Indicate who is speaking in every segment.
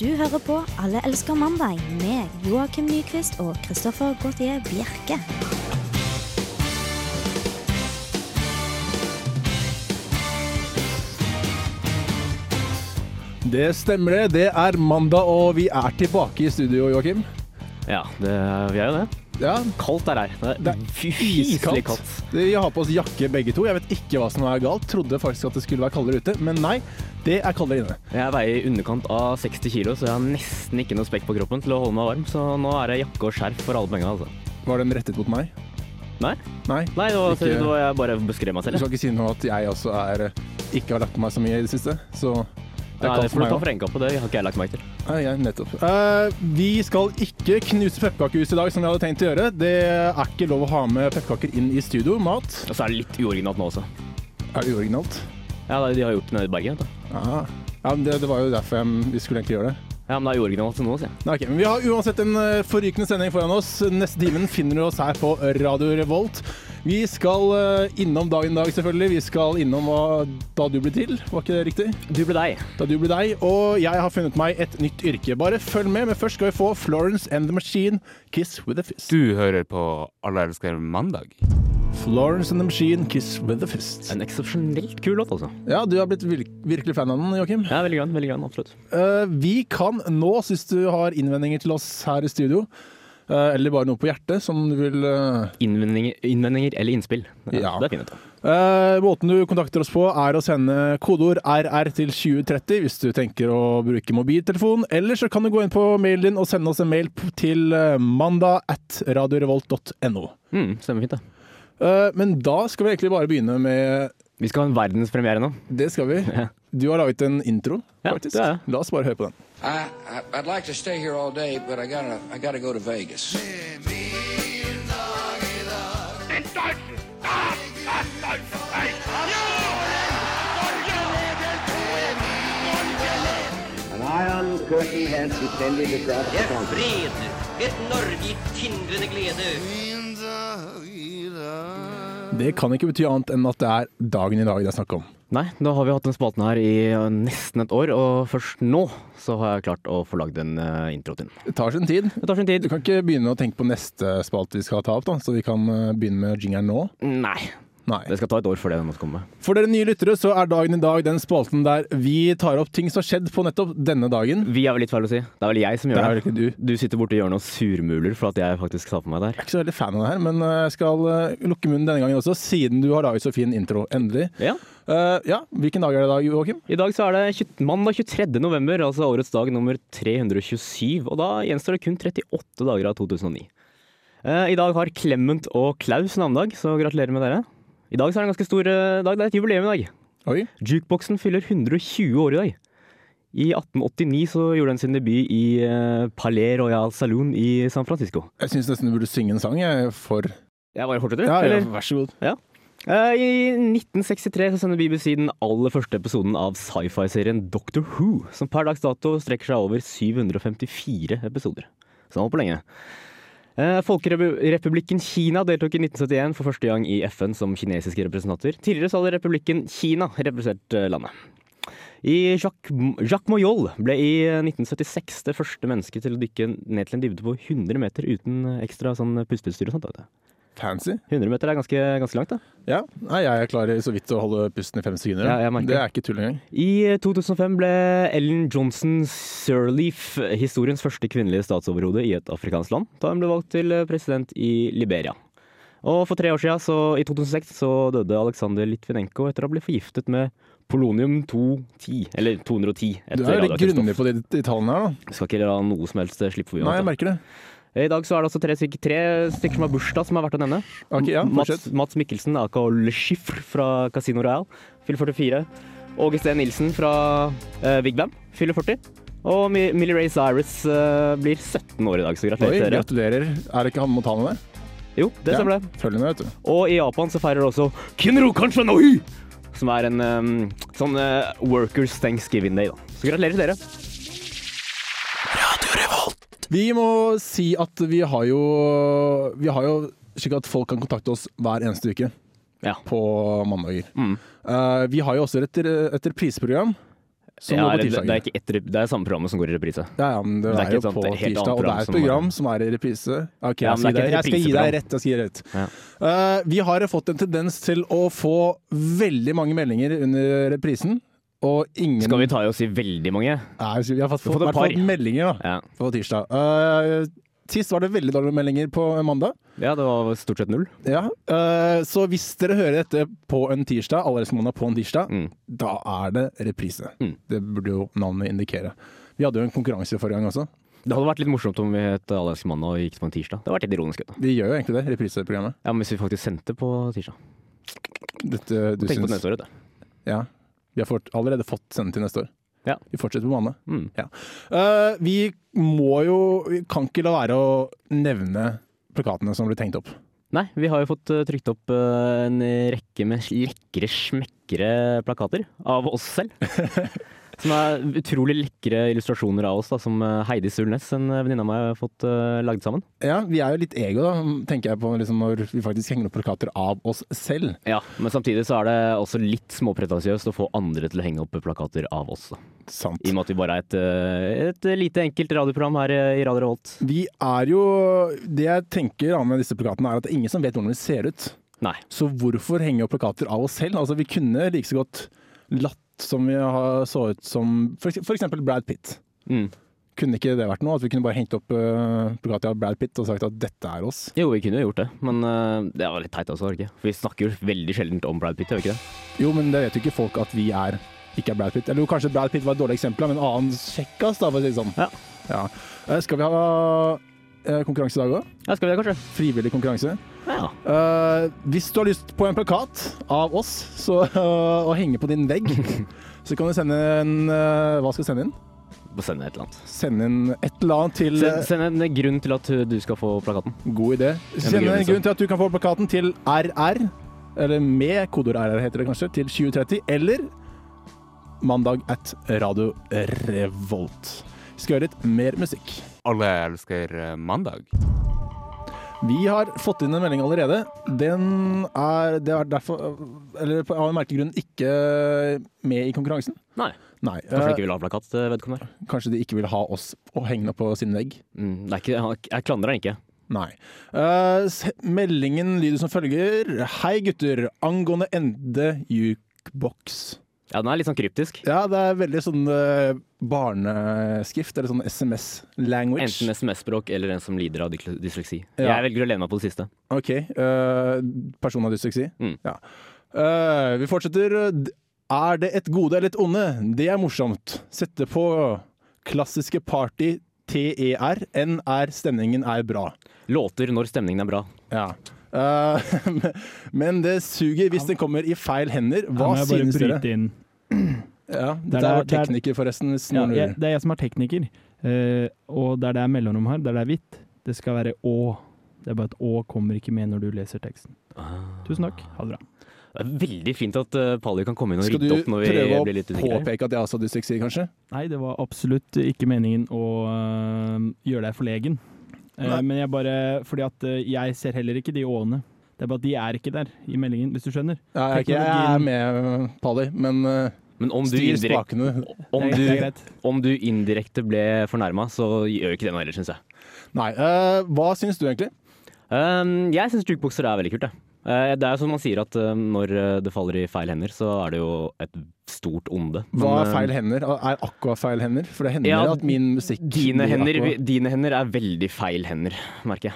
Speaker 1: Du hører på Alle elsker mandag med Joakim Nyquist og Christoffer Gautier Bjerke.
Speaker 2: Det stemmer det. Det er mandag, og vi er tilbake i studio, Joakim.
Speaker 3: Ja, det, vi er jo det.
Speaker 2: Ja,
Speaker 3: Kaldt er her. Det er,
Speaker 2: Det er
Speaker 3: fyselig
Speaker 2: iskaldt.
Speaker 3: kaldt.
Speaker 2: Vi har på oss jakke begge to. Jeg vet ikke hva som er galt. Trodde faktisk at det skulle være kaldere ute, men nei. Det er kaldere inne.
Speaker 3: Jeg veier i underkant av 60 kilo, så jeg har nesten ikke noe spekk på kroppen til å holde meg varm, så nå er det jakke og skjerf for alle penga, altså.
Speaker 2: Var den rettet mot meg?
Speaker 3: Nei,
Speaker 2: Nei.
Speaker 3: Nei det, var,
Speaker 2: Ikke-
Speaker 3: det var jeg bare beskrev meg
Speaker 2: Du
Speaker 3: selv.
Speaker 2: skal ikke si noe at jeg også er eh, ikke har lagt på meg så mye i det siste, så det
Speaker 3: Det,
Speaker 2: er
Speaker 3: Nei,
Speaker 2: kaldt
Speaker 3: det får
Speaker 2: for
Speaker 3: du
Speaker 2: meg
Speaker 3: ta
Speaker 2: òg.
Speaker 3: for enka på, det har ikke jeg lagt merke til.
Speaker 2: Nei, ja, nettopp. Eh, vi skal ikke knuse pepperkakehus i dag, som vi hadde tenkt å gjøre. Det er ikke lov å ha med pepperkaker inn i studio. Mat
Speaker 3: Og så er det litt uoriginalt nå også.
Speaker 2: er det uoriginalt.
Speaker 3: Ja, det- de har gjort det nede i Bergen. Vet du.
Speaker 2: Ja, ja men det, det var jo derfor jeg, vi skulle egentlig gjøre det.
Speaker 3: Ja, men det er uoriginalt nå, sier jeg.
Speaker 2: Nei, ok, men Vi har uansett en eh, forrykende sending foran oss. Neste timen finner du oss her på Radio Revolt. Vi skal eh, innom dagen i dag, selvfølgelig. Vi skal innom hva, da du ble til, var ikke det riktig?
Speaker 3: Du ble deg.
Speaker 2: Da du ble deg. Og jeg har funnet meg et nytt yrke. Bare følg med, men først skal vi få Florence and the Machine, 'Kiss with a Fist'.
Speaker 4: Du hører på Alle elsker mandag.
Speaker 2: Florence and the Machine, 'Kiss with a Fist'.
Speaker 3: En eksepsjonelt kul låt, altså.
Speaker 2: Ja, du har blitt vir virkelig fan av den, Joakim.
Speaker 3: Ja, veldig grann, veldig grann, absolutt.
Speaker 2: Eh, vi kan nå, hvis du har innvendinger til oss her i studio, eh, eller bare noe på hjertet som du vil eh,
Speaker 3: Innvendinger, innvendinger eller innspill. Ja,
Speaker 2: Ja.
Speaker 3: Det er fint. vet du.
Speaker 2: Eh, måten du kontakter oss på er å sende kodeord RR til 2030 hvis du tenker å bruke mobiltelefon. Eller så kan du gå inn på mailen din og sende oss en mail p- til eh, mandag at radiorevolt.no.
Speaker 3: Mm, stemmer fint, det.
Speaker 2: Eh, men da skal vi egentlig bare begynne med
Speaker 3: Vi skal ha en verdenspremiere nå.
Speaker 2: Det skal vi. Du har laget en intro,
Speaker 3: Ja,
Speaker 2: faktisk.
Speaker 3: det har
Speaker 2: La oss bare høre på den.
Speaker 5: I, I I'd like to stay here all day, but I gotta I gotta go to Vegas.
Speaker 6: An iron curtain has descended across the
Speaker 7: Det er
Speaker 6: country.
Speaker 7: fred, et Norge i tindrende glede.
Speaker 2: Det kan ikke bety annet enn at det er dagen i dag det er snakk om.
Speaker 3: Nei, da har vi hatt den spalten her i eh, nesten et år, og først nå så har jeg klart å få lagd en eh, intro til den.
Speaker 2: Det tar sin tid.
Speaker 3: Det tar sin
Speaker 2: Du
Speaker 3: tid.
Speaker 2: kan ikke begynne å tenke på neste spalt vi skal ta opp, da, så vi kan eh, begynne med jingeren nå.
Speaker 3: Nei.
Speaker 2: Nei.
Speaker 3: Det skal ta et år før det måtte komme.
Speaker 2: For dere nye lyttere så er dagen i dag den spalten der vi tar opp ting som har skjedd på nettopp denne dagen.
Speaker 3: Vi er vel litt feil å si. Det er vel jeg som
Speaker 2: Det
Speaker 3: gjør
Speaker 2: er
Speaker 3: det.
Speaker 2: vel ikke du. Jeg
Speaker 3: Du sitter borti hjørnet og surmuler for at jeg faktisk sa på meg der.
Speaker 2: er ikke så veldig fan av det her, men eh, jeg skal eh, lukke munnen denne gangen også, siden du har laget så fin intro. Endelig.
Speaker 3: Ja.
Speaker 2: Eh, ja, hvilken dag er det i dag, Joakim?
Speaker 3: I dag så er det tjue- mandag 23. november, altså årets dag nummer 327, og da gjenstår det kun 38 dager av 2009. Eh, I dag har Clement og Klaus navnedag, så gratulerer med dere. I dag så er det en ganske stor eh, dag. Det er et jubileum i dag.
Speaker 2: Oi.
Speaker 3: Jukeboxen fyller 120 år i dag. I 1889 så gjorde den sin debut i eh, Palais Royal Saloon i San Francisco.
Speaker 2: Jeg syns nesten du burde synge en sang jeg, for
Speaker 3: Jeg bare fortsetter,
Speaker 2: ja, ja,
Speaker 3: eller?
Speaker 2: Vær så god.
Speaker 3: Eh, I 1963 så sender BBC den aller første episoden av sci-fi-serien Doctor Who, som per dags dato strekker seg over 754 episoder. Så den var på lenge. Eh, Folkerepublikken Kina deltok i 1971 for første gang i FN som kinesiske representanter. Tidligere så hadde republikken Kina representert eh, landet. I Jacques, Jacques Moyol ble i 1976 det første mennesket til å dykke ned til en dybde på 100 meter uten ekstra sånn pusteutstyr og sånt. vet du.
Speaker 2: Fancy. 1
Speaker 3: 100 meter er ganske, ganske langt, da.
Speaker 2: Ja. Nei, jeg klarer så vidt å holde pusten i fem sekunder.
Speaker 3: Ja, jeg merker
Speaker 2: det er ikke tull engang.
Speaker 3: I 2005 ble Ellen Johnson Sirleaf historiens første kvinnelige statsoverhode i et afrikansk land, da hun ble valgt til eh, president i Liberia. Og for tre år siden, så, i 2006, så døde Aleksandr Litvinenko etter å ha blitt forgiftet med polonium 210, eller 210.
Speaker 2: Du er
Speaker 3: etter
Speaker 2: veldig
Speaker 3: radioaktivt stoff.
Speaker 2: grundig på de, de tallene her, da.
Speaker 3: Skal ikke la noe som helst slippe forbi.
Speaker 2: Nei, jeg
Speaker 3: altså.
Speaker 2: merker det.
Speaker 3: I dag så er det også tre, stykker- tre stykker som har bursdag, som er verdt å nevne.
Speaker 2: Ok, ja,
Speaker 3: Mats,
Speaker 2: fortsett.
Speaker 3: Mats Mikkelsen, aka Le Chiffre fra Casino Royal, fyller 44. Åge Steen Nilsen fra eh, Big Bam fyller 40. Og Mi- Millie Ray Cyrus eh, blir 17 år i dag, så
Speaker 2: Oi,
Speaker 3: gratulerer til dere.
Speaker 2: gratulerer. Er det ikke han med tallene der?
Speaker 3: Jo, det
Speaker 2: Ja,
Speaker 3: stemmer det.
Speaker 2: Følg med, vet du.
Speaker 3: Og i Japan så feirer også Kinro Kanshanoi, som er en eh, sånn eh, workers thanksgiving day, da. Så gratulerer til dere.
Speaker 2: Vi må si at vi har jo Vi har jo slik at folk kan kontakte oss hver eneste uke
Speaker 3: Ja. Mm.
Speaker 2: på mandager. Eh, vi har jo også et, et repriseprogram Som
Speaker 3: Ja,
Speaker 2: går på
Speaker 3: eller, det,
Speaker 2: tirsdager.
Speaker 3: er ikke ett, rep- det er samme programmet som går i reprise.
Speaker 2: Ja, ja, men det,
Speaker 3: Det er
Speaker 2: er,
Speaker 3: ikke
Speaker 2: jo
Speaker 3: et sånt
Speaker 2: på
Speaker 3: helt annet
Speaker 2: tirsdag, og det er et program
Speaker 3: program
Speaker 2: som er i reprise. Ok,
Speaker 3: Ja,
Speaker 2: jeg,
Speaker 3: men
Speaker 2: skal
Speaker 3: det
Speaker 2: gi deg,
Speaker 3: er ikke et
Speaker 2: jeg skal gi deg
Speaker 3: repriseprogram.
Speaker 2: rett. Jeg skal gi deg rett. Eh, vi har fått en tendens til å få veldig mange meldinger under reprisen, og ingen
Speaker 3: Skal vi ta i oss i veldig mange?
Speaker 2: Nei, vi har fått,
Speaker 3: Vi har fått et
Speaker 2: hvert fall
Speaker 3: par.
Speaker 2: meldinger da,
Speaker 3: Ja.
Speaker 2: på tirsdag. Eh, sist var det veldig dårlige meldinger på mandag.
Speaker 3: ja, det var stort sett null.
Speaker 2: Ja, eh, så hvis dere hører dette på en tirsdag, allerede som mandag på en tirsdag,
Speaker 3: Mm.
Speaker 2: da er det reprise.
Speaker 3: Mm.
Speaker 2: Det burde jo navnet indikere. Vi hadde jo en konkurranse forrige gang også.
Speaker 3: Det hadde vært litt morsomt om vi het Alias Mandag og gikk på en tirsdag. Det hadde vært litt ironisk. vet du.
Speaker 2: Vi gjør jo egentlig det, repriseprogrammet.
Speaker 3: Ja, Men hvis vi faktisk sendte på tirsdag
Speaker 2: Dette eh, du
Speaker 3: Tenk på
Speaker 2: syns.
Speaker 3: neste år, vet du.
Speaker 2: Ja. Vi har fått, allerede fått sende til neste år.
Speaker 3: Ja.
Speaker 2: Vi fortsetter på mandag.
Speaker 3: Mm.
Speaker 2: Ja. Eh, vi må jo Vi kan ikke la være å nevne plakatene som ble tenkt opp.
Speaker 3: Nei, vi har jo fått eh, trykt opp eh, en rekke med lekre, smekre plakater av oss selv. Som er utrolig lekre illustrasjoner av oss, da, som eh, Heidi Sulnes, en eh, venninne av meg, har fått eh, lagd sammen.
Speaker 2: Ja, vi er jo litt ego, da, tenker jeg på liksom, når vi faktisk henger opp plakater av oss selv.
Speaker 3: Ja, Men samtidig så er det også litt småpretensiøst å få andre til å henge opp plakater av oss. Da.
Speaker 2: Sant.
Speaker 3: I og med at vi bare er et, eh, et lite, enkelt radioprogram her eh, i Radio Revolt.
Speaker 2: Vi er jo Det jeg tenker da med disse plakatene, er at det er ingen som vet hvordan vi ser ut.
Speaker 3: Nei.
Speaker 2: Så hvorfor henge opp plakater av oss selv? Altså, vi kunne like så godt latt som vi har- så ut som for ekse- for eksempel Brad Pitt.
Speaker 3: Mm.
Speaker 2: Kunne ikke det vært noe? At vi kunne bare hengt opp eh, plakater av Brad Pitt og sagt at dette er oss?
Speaker 3: Jo, vi kunne jo gjort det, men eh, det var litt teit også, var det ikke? For vi snakker jo veldig sjelden om Brad Pitt, gjør vi ikke det?
Speaker 2: Jo, men det vet jo ikke folk at vi er ikke er Brad Pitt. Eller jo, kanskje Brad Pitt var et dårlig eksempel, men en annen kjekkas, da, for å si det sånn.
Speaker 3: Ja.
Speaker 2: Ja. Eh, Skal vi ha eh, konkurranse i dag òg?
Speaker 3: Ja, skal vi det, kanskje?
Speaker 2: Frivillig konkurranse.
Speaker 3: Ja.
Speaker 2: Eh, hvis du har lyst på en plakat av oss så, eh, å henge på din vegg, så kan du sende en eh, Hva skal du sende inn?
Speaker 3: Bare Send et eller annet.
Speaker 2: Sende inn et eller annet til
Speaker 3: Send, send en grunn til at du skal få plakaten.
Speaker 2: God idé. liksom. Send en
Speaker 3: begrunnelse.
Speaker 2: grunn til at du kan få plakaten til RR, eller med kodeord RR heter det kanskje, til 2030, eller mandag at Radio Revolt. Vi skal høre litt mer musikk.
Speaker 4: Alle elsker eh, mandag.
Speaker 2: Vi har fått inn en melding allerede. Den er, det er derfor, eller på- av en merkelig grunn, ikke med i konkurransen.
Speaker 3: Nei.
Speaker 2: Nei.
Speaker 3: Kanskje
Speaker 2: eh,
Speaker 3: ikke vil ha plakat, eh, vedkommende.
Speaker 2: Kanskje de ikke vil ha oss å henge opp på sin vegg?
Speaker 3: Mm, det er ikke, han- jeg klandrer han ikke.
Speaker 2: Nei. Eh, s- meldingen lyder som følger. Hei gutter, angående ende jukebox.
Speaker 3: Ja, den er litt sånn kryptisk.
Speaker 2: Ja, det er veldig sånn eh, barneskrift, eller sånn
Speaker 3: Enten
Speaker 2: SMS-language.
Speaker 3: SMS-språk eller en som lider av dykle- dysleksi.
Speaker 2: Ja.
Speaker 3: Jeg velger å lene meg på det siste.
Speaker 2: Ok. eh, person av dysleksi.
Speaker 3: Mm.
Speaker 2: Ja. Eh, vi fortsetter. D- Er det et gode eller et onde? Det er morsomt. Sette på klassiske party E TER. NR, stemningen er bra.
Speaker 3: Låter når stemningen er bra.
Speaker 2: Ja. Eh, men det suger hvis den kommer i feil hender. Hva
Speaker 8: Her må jeg
Speaker 2: synes
Speaker 8: bare
Speaker 2: dere?
Speaker 8: bryte inn.
Speaker 2: Ja,
Speaker 8: Der
Speaker 2: dette er
Speaker 8: er-
Speaker 2: vår tekniker, forresten. hvis
Speaker 8: Ja,
Speaker 2: noen
Speaker 8: jeg,
Speaker 2: lurer.
Speaker 8: det er jeg som er tekniker, eh, og der det er mellomrom her, der det er hvitt, det skal være å. Det er bare at å kommer ikke med når du leser teksten.
Speaker 3: Ah.
Speaker 8: Tusen takk, ha det bra.
Speaker 3: Det er veldig fint at eh, Palli kan komme inn og
Speaker 2: Skal
Speaker 3: rydde
Speaker 2: du
Speaker 3: opp når vi
Speaker 2: prøve å
Speaker 3: blir litt usikre.
Speaker 2: påpeke at jeg også har dysleksi, kanskje?
Speaker 8: Nei, det var absolutt ikke meningen å øh, gjøre deg forlegen. Eh,
Speaker 2: Nei.
Speaker 8: men jeg bare Fordi at øh, jeg ser heller ikke de åene. Det er bare at de er ikke der i meldingen, hvis du skjønner.
Speaker 2: Ja, jeg, er ikke- jeg er med Pali, men eh,
Speaker 3: Men om du,
Speaker 2: styr
Speaker 3: indirekte,
Speaker 2: spakene.
Speaker 3: om,
Speaker 8: Det er- det er
Speaker 3: du,
Speaker 8: greit.
Speaker 3: om du indirekte ble fornærma, så gjør ikke det noe heller, syns jeg.
Speaker 2: Nei, eh, hva syns du egentlig?
Speaker 3: Um, jeg syns jukebokser er veldig kult. Jeg. Eh, det er jo som man sier at eh, når eh, det faller i feil hender, så er det jo et stort onde.
Speaker 2: Hva
Speaker 3: Men,
Speaker 2: er
Speaker 3: eh,
Speaker 2: feil hender? Er aqua feil hender? For det hender
Speaker 3: Ja,
Speaker 2: at min musikk
Speaker 3: Dine
Speaker 2: blir
Speaker 3: hender,
Speaker 2: aqua.
Speaker 3: vi- dine hender er veldig feil hender, merker jeg.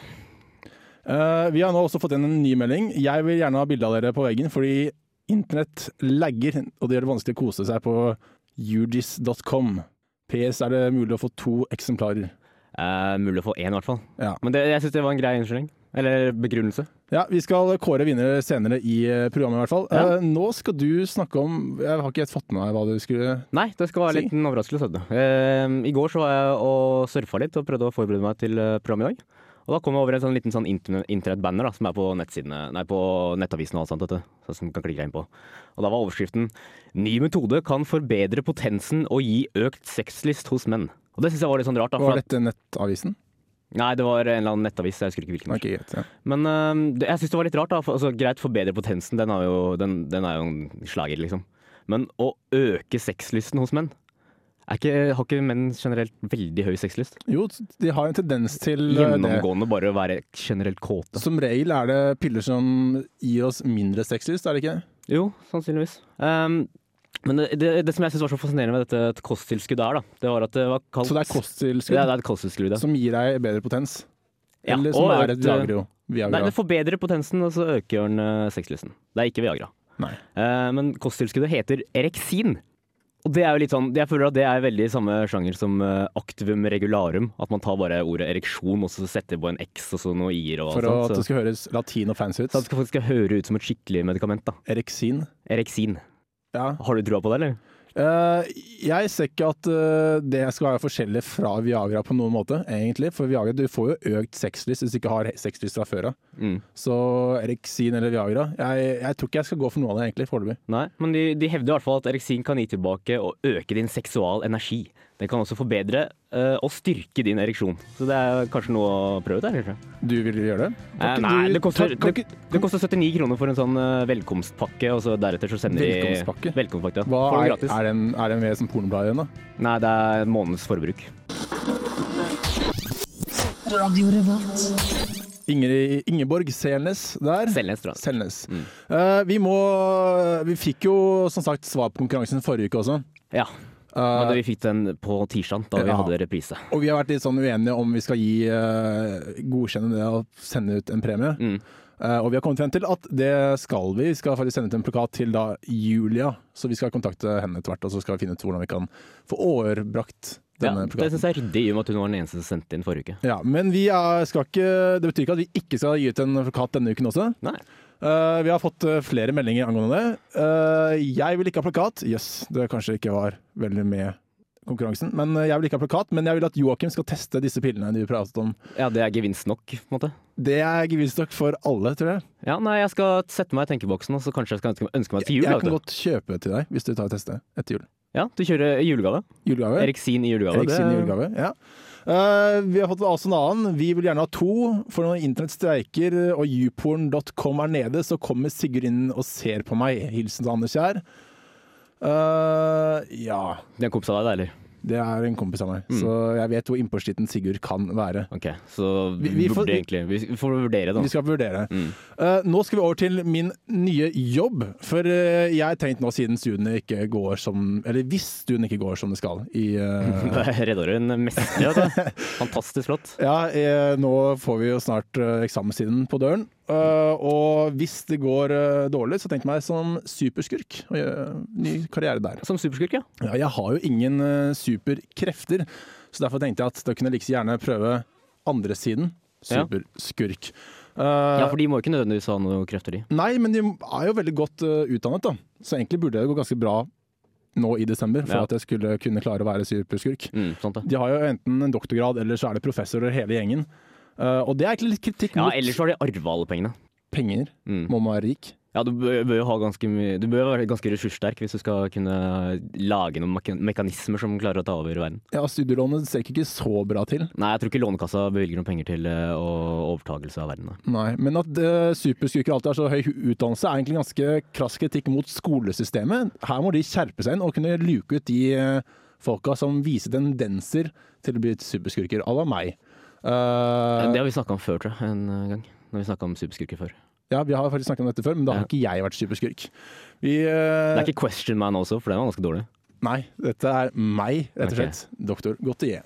Speaker 2: Eh, vi har nå også fått inn en ny melding. Jeg vil gjerne ha bilde av dere på veggen, fordi internett lagger, og det gjør det vanskelig å kose seg på ugis.com. PS er det mulig å få to eksemplarer.
Speaker 3: Eh, mulig å få én, i hvert fall.
Speaker 2: Ja.
Speaker 3: Men det, jeg syns det var en grei unnskyldning. Eller begrunnelse.
Speaker 2: Ja, Vi skal kåre vinnere senere i eh, programmet, i hvert fall.
Speaker 3: Ja.
Speaker 2: Eh, nå skal du snakke om Jeg har ikke helt fått med meg hva du skulle
Speaker 3: Nei, det skal være en
Speaker 2: Si.
Speaker 3: liten overraskelse. vet du. Eh, I går så var jeg og surfa litt og prøvde å forberede meg til eh, programmet i dag. Og da kom jeg over en sånn liten sånn interne- internettbanner da, som er på nettsidene, nei, på nettavisen og alt sånt. Vet du. Sånn som du kan klikke deg inn på. Og da var overskriften 'Ny metode kan forbedre potensen og gi økt sexlyst hos menn'. Og det syns jeg var litt sånn rart. da.
Speaker 2: Var
Speaker 3: For at,
Speaker 2: dette Nettavisen?
Speaker 3: nei, det var en eller annen nettavis, jeg husker ikke hvilken.
Speaker 2: Ok, greit. Ja.
Speaker 3: Men øhm, det, jeg syns det var litt rart. da for, altså, Greit, forbedre potensen, den er, jo, den, den er jo en slager, liksom. Men å øke sexlysten hos menn, Er ikke, har ikke menn generelt veldig høy sexlyst?
Speaker 2: Jo, de har en tendens til eh, det.
Speaker 3: Gjennomgående bare å være generelt kåte.
Speaker 2: Som regel er det piller som gir oss mindre sexlyst, er det ikke?
Speaker 3: Jo, sannsynligvis. Ehm, men det, det, det som jeg synes var så fascinerende med dette kosttilskuddet her, da, det var at det var kaldt
Speaker 2: Så det er
Speaker 3: Ja,
Speaker 2: kosttilskudd
Speaker 3: det er et kosttilskudd. ja.
Speaker 2: som gir deg bedre potens.
Speaker 3: Ja,
Speaker 2: Eller som
Speaker 3: og
Speaker 2: er et
Speaker 3: økt, eh,
Speaker 2: Viagro. Viagra.
Speaker 3: Nei, det forbedrer potensen, og så øker den eh, sexlysten. Det er ikke Viagra.
Speaker 2: Nei.
Speaker 3: Eh, men kosttilskuddet heter Erexin. Og det er jo litt sånn, jeg føler at det er veldig samme sjanger som eh, activum regularum. At man tar bare ordet ereksjon og så setter på en X og så noe I-er og
Speaker 2: For å, at
Speaker 3: alt
Speaker 2: det
Speaker 3: sånt. Så, Sånn.
Speaker 2: skal høres latin og fancy ut.
Speaker 3: så det skal faktisk høre ut som et skikkelig medikament. da.
Speaker 2: Eriksin.
Speaker 3: Erexin.
Speaker 2: Ja.
Speaker 3: Har du trua på det, eller?
Speaker 2: Eh, jeg ser ikke at eh, det skal være forskjellig fra Viagra på noen måte, egentlig. For Viagra, du får jo økt sexlyst hvis du ikke har sexlyst fra før av.
Speaker 3: Mm.
Speaker 2: Så Eriksin eller Viagra jeg, jeg tror ikke jeg skal gå for noe av det, egentlig, foreløpig.
Speaker 3: Nei, men de, de hevder i hvert fall at ereksin kan gi tilbake og øke din seksual energi. Den kan også forbedre eh, og styrke din ereksjon. Så det er kanskje noe å prøve der, kanskje.
Speaker 2: Du vil gjøre det?
Speaker 3: Eh,
Speaker 2: Kan ikke
Speaker 3: nei,
Speaker 2: du-
Speaker 3: det koster,
Speaker 2: kan- kan
Speaker 3: det,
Speaker 2: ikke-
Speaker 3: det koster 79 kroner for en sånn eh, velkomstpakke, og så deretter så sender de
Speaker 2: Velkomstpakke?
Speaker 3: Velkomstpakke, ja.
Speaker 2: Hva
Speaker 3: Får den
Speaker 2: er,
Speaker 3: gratis.
Speaker 2: er, den, er den med som pornobladet igjen, da?
Speaker 3: Nei, det er en måneds forbruk.
Speaker 2: Ingrid, Ingeborg Selnes der.
Speaker 3: Selnes, tror jeg. Mm.
Speaker 2: Selnes. Eh, vi må Vi fikk jo som sagt svar på konkurransen forrige uke også.
Speaker 3: Ja.
Speaker 2: Eh,
Speaker 3: Men vi fikk den på tirsdag, da vi
Speaker 2: ja.
Speaker 3: hadde reprise.
Speaker 2: og vi har vært litt sånn uenige om vi skal gi eh, godkjenne det å sende ut en premie.
Speaker 3: Mm.
Speaker 2: Eh, og vi har kommet frem til at det skal vi. Vi skal faktisk sende ut en plakat til da Julia. Så vi skal kontakte henne etter hvert, og så skal vi finne ut hvordan vi kan få overbrakt
Speaker 3: Ja,
Speaker 2: denne
Speaker 3: det
Speaker 2: eh, plakaten.
Speaker 3: syns jeg er ryddig, i og med at hun var den eneste som sendte inn forrige uke.
Speaker 2: Ja, men vi er, skal ikke, det betyr ikke at vi ikke skal gi ut en plakat denne uken også.
Speaker 3: Nei.
Speaker 2: Eh, vi har fått eh, flere meldinger angående det. Eh, jeg vil ikke ha plakat. Jøss, yes, det kanskje ikke var veldig med konkurransen. Men eh, jeg vil ikke ha plakat, men jeg vil at Joakim skal teste disse pillene du pratet om.
Speaker 3: Ja, det er gevinst nok, på en måte.
Speaker 2: Det er gevinst nok for alle, tror jeg.
Speaker 3: Ja, nei, jeg skal sette meg i tenkeboksen, og så kanskje jeg skal ønske, ønske meg til jul. da,
Speaker 2: Jeg
Speaker 3: vet
Speaker 2: kan
Speaker 3: du.
Speaker 2: godt kjøpe til deg hvis du tar teste etter jul.
Speaker 3: Ja, du kjører julegave.
Speaker 2: Julegave?
Speaker 3: Eriksin i julegave.
Speaker 2: Erik sin
Speaker 3: det-
Speaker 2: julegave. Ja. Eh, vi har fått også en annen. Vi vil gjerne ha to. For når internett streiker og youporn.com er nede, så kommer Sigurd inn og ser på meg. Hilsen til Anders Kjær. Eh, ja.
Speaker 3: Det er en kompis av deg, det, eller?
Speaker 2: Det er en kompis av meg,
Speaker 3: Mm.
Speaker 2: så jeg vet hvor innpåsliten Sigurd kan være.
Speaker 3: Ok, så
Speaker 2: Vi-
Speaker 3: vi,
Speaker 2: vi får-
Speaker 3: burde egentlig Vi får vurdere, da.
Speaker 2: Vi skal vurdere.
Speaker 3: Mm.
Speaker 2: Eh, nå skal vi over til min nye jobb. For eh, jeg har tenkt nå siden studiene ikke går som Eller hvis studiene ikke går som det skal i eh,
Speaker 3: Det er Reddaren mestrer, vet du. Fantastisk flott.
Speaker 2: Ja, eh, nå får vi jo snart eh, eksamenstiden på døren. Eh, og hvis det går eh, dårlig, så tenk meg som superskurk. Og gjøre ny karriere der.
Speaker 3: Som superskurk, ja.
Speaker 2: Ja, jeg har jo ingen eh, superkrefter, så derfor tenkte jeg at da kunne jeg like så gjerne prøve andre siden.
Speaker 3: Ja.
Speaker 2: Superskurk.
Speaker 3: Ja,
Speaker 2: Eh,
Speaker 3: For de må ikke nødvendigvis ha noe krefter, de.
Speaker 2: Nei, men de er jo veldig godt eh, utdannet, da. Så egentlig burde det gå ganske bra nå i desember for
Speaker 3: Ja.
Speaker 2: at jeg skulle kunne klare å være superskurk.
Speaker 3: Mm, sant det.
Speaker 2: De har jo enten en doktorgrad, eller så er det professorer hele gjengen. Eh, og det er egentlig litt kritikk
Speaker 3: Ja,
Speaker 2: mot
Speaker 3: ellers så har de arva alle pengene.
Speaker 2: penger.
Speaker 3: Mm.
Speaker 2: Må man være rik.
Speaker 3: Ja, du bør bør jo ha ganske mye Du bør jo være ganske ressurssterk hvis du skal kunne lage noen mek mekanismer som klarer å ta over verden.
Speaker 2: Ja, Studielånet ser ikke så bra til,
Speaker 3: Nei, jeg tror ikke Lånekassa bevilger noen penger til eh, å- overtagelse av verden. da.
Speaker 2: Nei, men at eh, superskurker alltid har så høy utdannelse, er egentlig ganske krass kritikk mot skolesystemet. Her må de skjerpe seg inn og kunne luke ut de eh, folka som viser tendenser til å bli superskurker, à la meg. Eh,
Speaker 3: Det har vi snakka om før, tror jeg. En eh, gang. Når vi snakka om superskurker før.
Speaker 2: Ja, Vi har faktisk snakket om dette før, men da har
Speaker 3: Ja.
Speaker 2: ikke jeg vært superskurk. Vi,
Speaker 3: Det
Speaker 2: eh,
Speaker 3: er ikke Question Man også, for den var ganske dårlig.
Speaker 2: Nei, dette er meg, rett og
Speaker 3: Ok.
Speaker 2: slett. Doktor Gautier.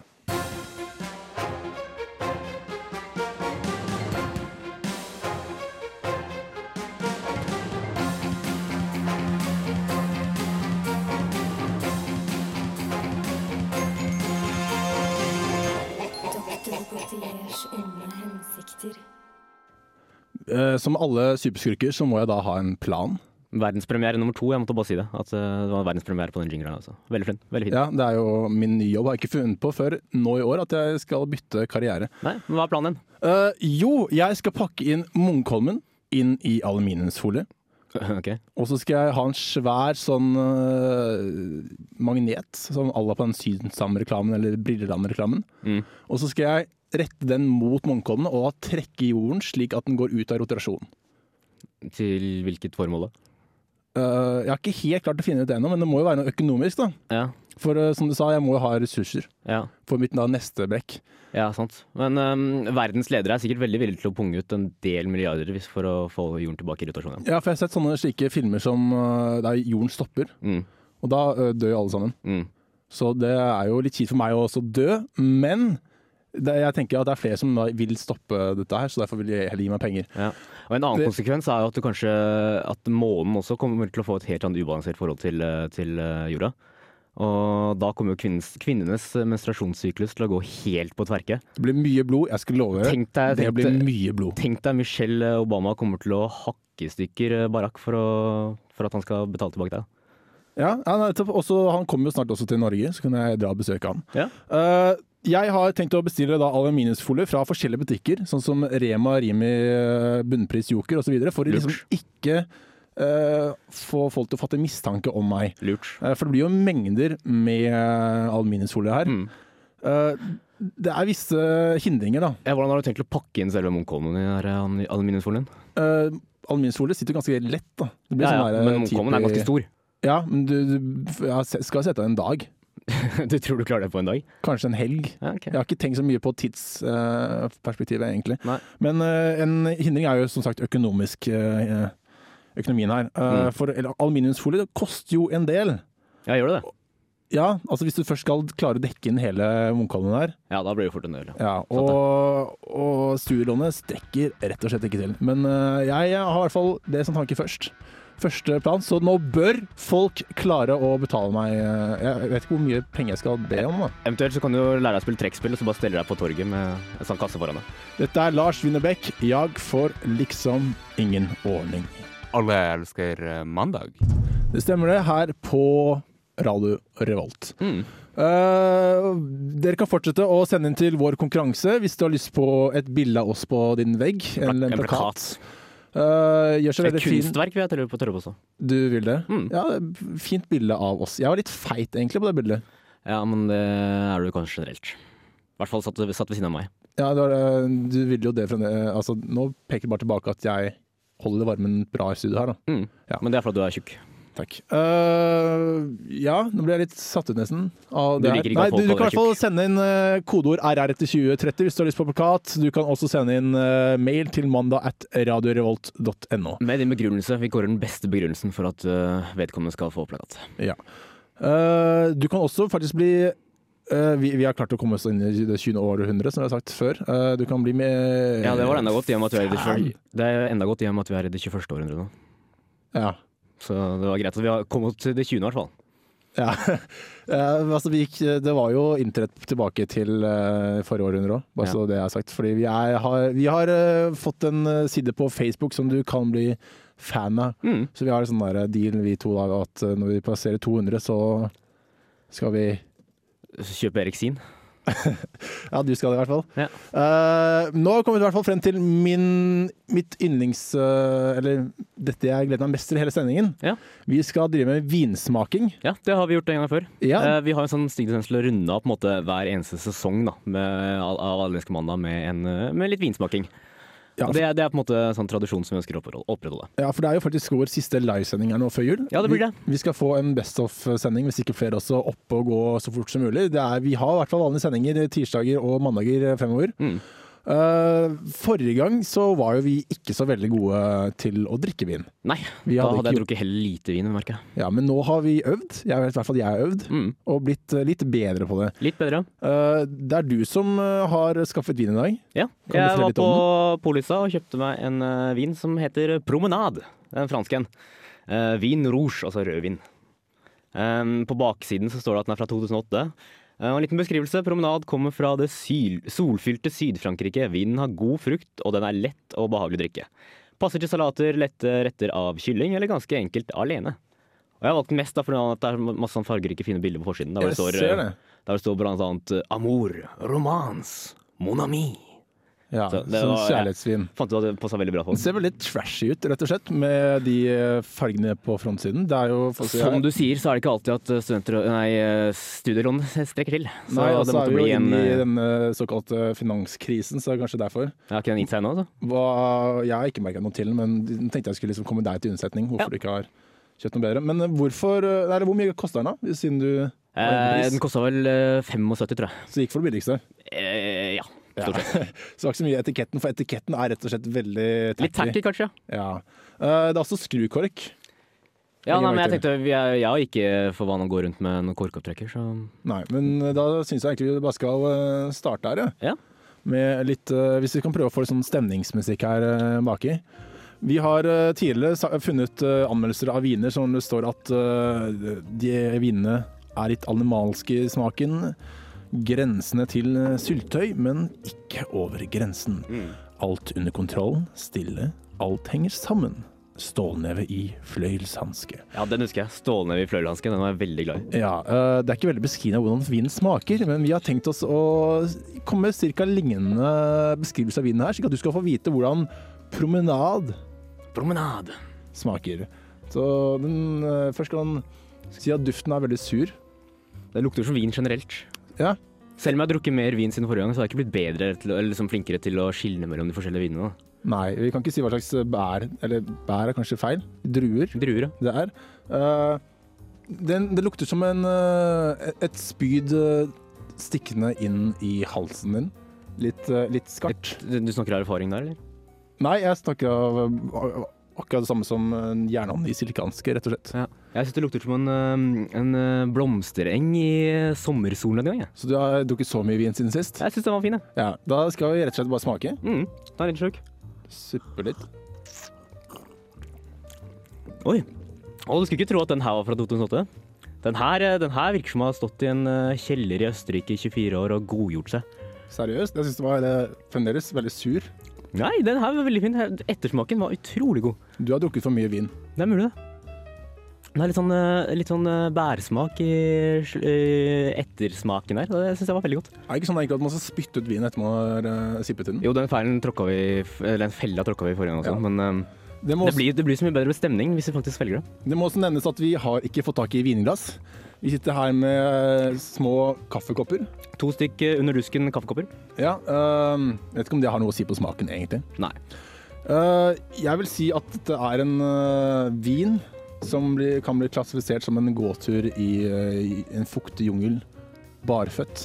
Speaker 2: Eh, Som alle superskurker så må jeg da ha en plan.
Speaker 3: Verdenspremiere nummer to, jeg måtte bare si det. At eh, det var verdenspremiere på den jingeren. Altså. Veldig flink. Veldig fin.
Speaker 2: Ja, det er jo Min nye jobb har jeg ikke funnet på før nå i år at jeg skal bytte karriere.
Speaker 3: Nei, men hva er planen din?
Speaker 2: Eh, jo, jeg skal pakke inn Munkholmen inn i aluminiumsfolie.
Speaker 3: Ok.
Speaker 2: Og så skal jeg ha en svær sånn eh, magnet, sånn à la på den Synsam-reklamen eller Brilleland-reklamen.
Speaker 3: Mm.
Speaker 2: Og så skal jeg rette den mot Munkholmen og da trekke jorden slik at den går ut av rotasjon.
Speaker 3: Til hvilket formål da?
Speaker 2: Eh, jeg har ikke helt klart å finne ut det ennå, men det må jo være noe økonomisk, da.
Speaker 3: Ja.
Speaker 2: For eh, som du sa, jeg må jo ha ressurser
Speaker 3: Ja,
Speaker 2: for mitt da neste brekk.
Speaker 3: ja sant. Men øhm, verdens ledere er sikkert veldig villige til å punge ut en del milliarder hvis- for å få jorden tilbake i rotasjon igjen.
Speaker 2: Ja, for jeg har sett sånne slike filmer som eh, der jorden stopper,
Speaker 3: Mm,
Speaker 2: og da eh, dør jo alle sammen.
Speaker 3: mm.
Speaker 2: Så det er jo litt kjipt for meg å også dø, men det, jeg tenker at det er flere som da vil stoppe dette her, så derfor vil jeg heller gi meg penger.
Speaker 3: Ja. Og en annen
Speaker 2: Det-
Speaker 3: konsekvens er jo at du kanskje at månen også kommer til å få et helt annet ubalansert forhold til, eh, til eh, jorda. Og da kommer jo kvinnes, kvinnenes menstruasjonssyklus til å gå helt på tverke.
Speaker 2: Det blir mye blod, jeg skal love dere.
Speaker 3: Tenk deg,
Speaker 2: Det
Speaker 3: tenk,
Speaker 2: blir
Speaker 3: deg-
Speaker 2: mye blod.
Speaker 3: tenk deg Michelle eh, Obama kommer til å hakke i stykker eh, Barack for, å, for at han skal betale tilbake deg.
Speaker 2: Ja, ja, nettopp. Også- han kommer jo snart også til Norge, så kan jeg dra og besøke han.
Speaker 3: Ja.
Speaker 2: Eh, jeg har tenkt å bestille da aluminiumsfolie fra forskjellige butikker, sånn som Rema, Rimi, eh, Bunnpris, Joker osv., for å liksom ikke eh, få folk til å fatte mistanke om meg.
Speaker 3: Lurt.
Speaker 2: Eh, For det blir jo mengder med eh, aluminiumsfolie her.
Speaker 3: Mm.
Speaker 2: Eh, Det er visse hindringer, da.
Speaker 3: Ja, hvordan har du tenkt å pakke inn selve Munkholmen i den her eh, aluminiumsfolien?
Speaker 2: Eh, Aluminiumsfolie sitter jo ganske lett, da. Det blir
Speaker 3: Ja,
Speaker 2: sånn
Speaker 3: ja,
Speaker 2: der,
Speaker 3: men Munkholmen er
Speaker 2: type-
Speaker 3: ganske stor.
Speaker 2: Ja, men du, du jeg skal sette av en dag.
Speaker 3: du tror du klarer det på en dag?
Speaker 2: Kanskje en helg.
Speaker 3: Ja, ok.
Speaker 2: Jeg har ikke tenkt så mye på tidsperspektivet, egentlig.
Speaker 3: Nei.
Speaker 2: Men eh, en hindring er jo som sagt økonomisk eh, økonomien her.
Speaker 3: Mm.
Speaker 2: Eh, For eller, aluminiumsfolie det koster jo en del.
Speaker 3: ja gjør du det?
Speaker 2: Ja, altså Hvis du først skal klare å dekke inn hele Munkholmen her.
Speaker 3: Ja, da blir det fort en del. ja.
Speaker 2: Ja, og, og studielånet strekker rett og slett ikke til. Men eh, jeg har i hvert fall det som tanke først. Første plan, så nå bør folk klare å betale meg eh, Jeg vet ikke hvor mye penger jeg skal be om. da.
Speaker 3: Eventuelt så kan du jo lære deg å spille trekkspill, og så bare stelle deg på torget med en sånn kasse foran deg.
Speaker 2: Dette er Lars Winnerbäck. Jag får liksom ingen ordning.
Speaker 4: Alle elsker eh, mandag.
Speaker 2: Det stemmer det, her på Radio Revolt.
Speaker 3: Mm.
Speaker 2: Eh, dere kan fortsette å sende inn til vår konkurranse hvis du har lyst på et bilde av oss på din vegg. Eller en plakat. Eh, gjør seg
Speaker 3: Et
Speaker 2: veldig fin.
Speaker 3: kunstverk vil jeg tørre på tørre på også.
Speaker 2: Du vil det?
Speaker 3: Mm.
Speaker 2: Ja, det er fint bilde av oss. Jeg var litt feit egentlig på det bildet.
Speaker 3: Ja, men det er du kanskje generelt. I hvert fall satt, satt ved siden av meg.
Speaker 2: Ja, det var, det. du ville jo det fra altså, Nå peker det bare tilbake at jeg holder varmen bra i studio her, da.
Speaker 3: Mm.
Speaker 2: Ja.
Speaker 3: Men det er fordi du er tjukk.
Speaker 2: Takk. Eh, ja, nå ble jeg litt satt ut nesten. Av
Speaker 3: Du
Speaker 2: det her.
Speaker 3: liker ikke
Speaker 2: Nei,
Speaker 3: at
Speaker 2: du,
Speaker 3: folk
Speaker 2: du kan i
Speaker 3: kaller
Speaker 2: hvert
Speaker 3: deg
Speaker 2: fall sende inn eh, kodeord RR etter 2030 hvis du har lyst på plakat. Du kan også sende inn eh, mail til mandag at radiorevolt.no.
Speaker 3: Med din begrunnelse. Vi kårer den beste begrunnelsen for at øh, vedkommende skal få plakat.
Speaker 2: Ja. Eh, du kan også faktisk bli eh, vi, vi har klart å komme oss inn i det 20. århundret, som jeg har sagt før. Eh, du kan bli med
Speaker 3: Ja, det var enda godt i og med at vi er i det,
Speaker 2: Faen.
Speaker 3: tjue- det, er enda godt i og med at vi er i det 21. århundret nå.
Speaker 2: Ja.
Speaker 3: Så det var greit at vi har kommet oss til det 20. i hvert fall.
Speaker 2: ja. Eh, altså, vi gikk, det var jo internett tilbake til eh, forrige århundre òg, bare
Speaker 3: Ja.
Speaker 2: så det er sagt. Fordi vi, er, har, vi har eh, fått en eh, side på Facebook som du kan bli fan av.
Speaker 3: Mm.
Speaker 2: Så vi har en sånn der deal, vi to, da, at eh, når vi passerer 200, så skal vi
Speaker 3: Kjøpe Eriksin.
Speaker 2: Ja, du skal det i hvert fall.
Speaker 3: Ja.
Speaker 2: Eh, nå kommer vi i hvert fall frem til min, mitt yndlings... eh, eller dette jeg gleder meg mest til i hele sendingen.
Speaker 3: Ja.
Speaker 2: Vi skal drive med vinsmaking.
Speaker 3: Ja, det har vi gjort en gang før.
Speaker 2: Ja.
Speaker 3: Eh, vi har en sånn stig tendens til å runde av på en måte hver eneste sesong da, med, av av Allelske mandag med, en, eh, med litt vinsmaking.
Speaker 2: Ja.
Speaker 3: Og Det, er- det er på en måte sånn tradisjon som vi ønsker å opprettholde- opprettholde.
Speaker 2: Ja, for det er jo faktisk vår siste livesending her nå før jul.
Speaker 3: Ja, det blir det.
Speaker 2: Vi, vi skal få en best of-sending, hvis ikke flere også, oppe og gå så fort som mulig. Det er, vi har i hvert fall vanlige sendinger eh, tirsdager og mandager fremover.
Speaker 3: Mm.
Speaker 2: Eh, forrige gang så var jo vi ikke så veldig gode til å drikke vin.
Speaker 3: Nei,
Speaker 2: Vi
Speaker 3: da
Speaker 2: hadde
Speaker 3: hadde jeg
Speaker 2: ikke-
Speaker 3: drukket heller lite vin, merker jeg.
Speaker 2: Ja, men nå har vi øvd. Jeg vet i hvert fall at jeg har øvd,
Speaker 3: Mm.
Speaker 2: og blitt eh, litt bedre på det.
Speaker 3: Litt bedre.
Speaker 2: Eh, det er du som eh, har skaffet vin i dag.
Speaker 3: Ja.
Speaker 2: Kan du
Speaker 3: Jeg
Speaker 2: fortelle
Speaker 3: var
Speaker 2: litt om
Speaker 3: på Polisa og kjøpte meg en eh, vin som heter Promenade. En fransk en. Eh, vin rouge, altså rødvin. Em, på baksiden så står det at den er fra 2008. Eh, og en liten beskrivelse. Promenade kommer fra det syl solfylte Syd-Frankrike. Vinen har god frukt, og den er lett og behagelig å drikke. Passer til salater, lette retter av kylling, eller ganske enkelt alene. Og jeg har valgt den mest da, fordi at det er masse sånn fargerike, fine bilder på forsiden. Der hvor det står, eh, der hvor det står blant annet eh, Amour, romance, mon ami.
Speaker 2: Ja,
Speaker 3: Så det
Speaker 2: sånn
Speaker 3: var-
Speaker 2: kjærlighetsvin.
Speaker 3: Fant du at det passa veldig bra på
Speaker 2: Den ser veldig trashy ut, rett og slett, med de eh, fargene på frontsiden. Det er jo
Speaker 3: Som du sier, så er det ikke alltid at eh, studenter, nei, eh, studielån strekker til. Så
Speaker 2: Nei,
Speaker 3: det
Speaker 2: altså
Speaker 3: måtte
Speaker 2: er vi
Speaker 3: bli
Speaker 2: jo
Speaker 3: en
Speaker 2: inne i
Speaker 3: eh,
Speaker 2: denne såkalte finanskrisen, så det er kanskje derfor.
Speaker 3: Er ikke den gitt seg ennå, altså?
Speaker 2: Hva, jeg har ikke merka noe til, men jeg tenkte jeg skulle liksom komme deg til unnsetning. Hvorfor
Speaker 3: Ja.
Speaker 2: eh, du ikke har kjøpt noe bedre. Men hvorfor, eller hvor mye koster den, da? Siden du
Speaker 3: Eh,
Speaker 2: pris?
Speaker 3: den kosta vel eh, 75, tror jeg.
Speaker 2: Så det gikk for det billigste.
Speaker 3: Eh, ja.
Speaker 2: Ja.
Speaker 3: Stort sett.
Speaker 2: Så det var ikke så mye etiketten, for etiketten er rett og slett veldig
Speaker 3: Litt tacky, kanskje. ja.
Speaker 2: Ja. Eh, Det er også skrukork.
Speaker 3: Ja,
Speaker 2: Legger
Speaker 3: nei, men
Speaker 2: merke
Speaker 3: jeg tenkte vi er- Jeg er ikke for vane å gå rundt med en korkopptrekker, så
Speaker 2: Nei, men eh, da syns jeg egentlig vi bare skal eh, starte her,
Speaker 3: Ja.
Speaker 2: Med litt, eh, hvis vi kan prøve å få litt sånn stemningsmusikk her eh, baki. Vi har eh, tidligere sa- funnet eh, anmeldelser av viner som det står at eh, de vinene er litt animalske i smaken. Grensene til eh, syltetøy, men ikke over grensen. Alt under kontrollen, stille, alt henger sammen. Stålneve i fløyelshanske.
Speaker 3: Ja, den husker jeg. Stålneve i fløyelshansken. Den var jeg veldig glad i.
Speaker 2: Ja, eh, Det er ikke veldig beskrivende hvordan vinen smaker, men vi har tenkt oss å komme med ca. lignende beskrivelse av vinen her, slik at du skal få vite hvordan promenad
Speaker 3: Promenade.
Speaker 2: smaker. Så den, eh, Først skal den si at duften er veldig sur.
Speaker 3: Det lukter som vin generelt.
Speaker 2: Ja.
Speaker 3: Selv om jeg har drukket mer vin siden forrige gang, så har jeg ikke blitt bedre til, å- eller liksom flinkere til å skille mellom de forskjellige vinene. da.
Speaker 2: Nei, vi kan ikke si hva slags bær Eller bær er kanskje feil. Druer
Speaker 3: Druer, ja.
Speaker 2: det er. Eh, den, det lukter som en, eh, et spyd eh, stikkende inn i halsen din. Litt, eh, litt skarpt.
Speaker 3: Du du snakker av erfaring der, eller?
Speaker 2: Nei, jeg snakker av av- av akkurat det samme som en jernhånd i silikanske, rett og slett.
Speaker 3: Ja. Jeg syns det lukter som en, øhm, en øh, blomstereng i uh, sommersolen en gang. Jeg,
Speaker 2: Så du har drukket så mye vin siden sist?
Speaker 3: jeg syns den var fin, jeg.
Speaker 2: Ja. Da skal vi rett og slett bare smake.
Speaker 3: Mm, den er litt sjuk.
Speaker 2: Suppe litt.
Speaker 3: Oi. Å, du skulle ikke tro at den her var fra 2008. Den her, øh, den her virker som å ha stått i en øh, kjeller i Østerrike i 24 år og godgjort seg.
Speaker 2: Seriøst, jeg syns det var eh, fremdeles veldig sur.
Speaker 3: Nei, den her var veldig fin. Ettersmaken var utrolig god.
Speaker 2: Du har drukket for mye vin.
Speaker 3: Det er mulig, det. Det er litt sånn, eh, litt sånn eh, bærsmak i sl- i ettersmaken der. og Det syns jeg var veldig godt.
Speaker 2: Er det ikke sånn egentlig at man skal spytte ut vin etter man har eh, sippet den?
Speaker 3: Jo, den feilen tråkka vi Eller den fella tråkka vi i forrige gang også,
Speaker 2: Ja.
Speaker 3: men eh,
Speaker 2: Det må,
Speaker 3: det
Speaker 2: også,
Speaker 3: blir, det blir så mye bedre stemning hvis vi faktisk velger det.
Speaker 2: det må også nevnes at vi har ikke fått tak i vinglass. Vi sitter her med eh, små kaffekopper.
Speaker 3: To stykk eh, under dusken kaffekopper.
Speaker 2: Ja, eh, jeg vet ikke om det har noe å si på smaken, egentlig.
Speaker 3: Nei.
Speaker 2: Eh, jeg vil si at det er en eh, vin som blir, kan bli klassifisert som en gåtur i, eh, i en fuktig jungel. Barføtt.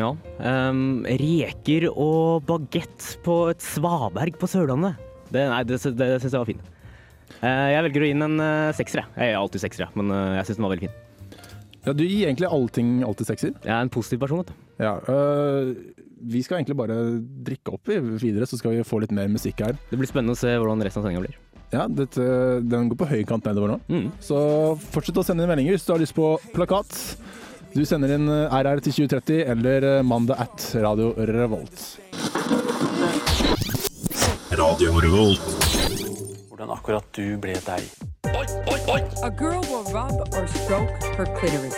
Speaker 3: Ja. em, Ehm, reker og bagett på et svaberg på Sørlandet. Det, nei, det, sy- det syns jeg var fin. Eh, jeg velger å gi den en eh, sekser, jeg. Jeg er alltid sekser, jeg, men eh, jeg syns den var veldig fin.
Speaker 2: Ja, du gir egentlig allting alltid sekser.
Speaker 3: Jeg er en positiv person, vet du.
Speaker 2: Ja, eh, vi skal egentlig bare drikke opp i- videre, så skal vi få litt mer musikk her.
Speaker 3: Det blir spennende å se hvordan resten av sendinga blir.
Speaker 2: Ja, dette, Den går på høykant nedover nå.
Speaker 3: Mm.
Speaker 2: Så fortsett å sende inn meldinger hvis du har lyst på plakat. Du sender inn eh, RR til 2030 eller eh, mandag at Radio Revolt.
Speaker 9: A girl will rub or stroke her clitoris.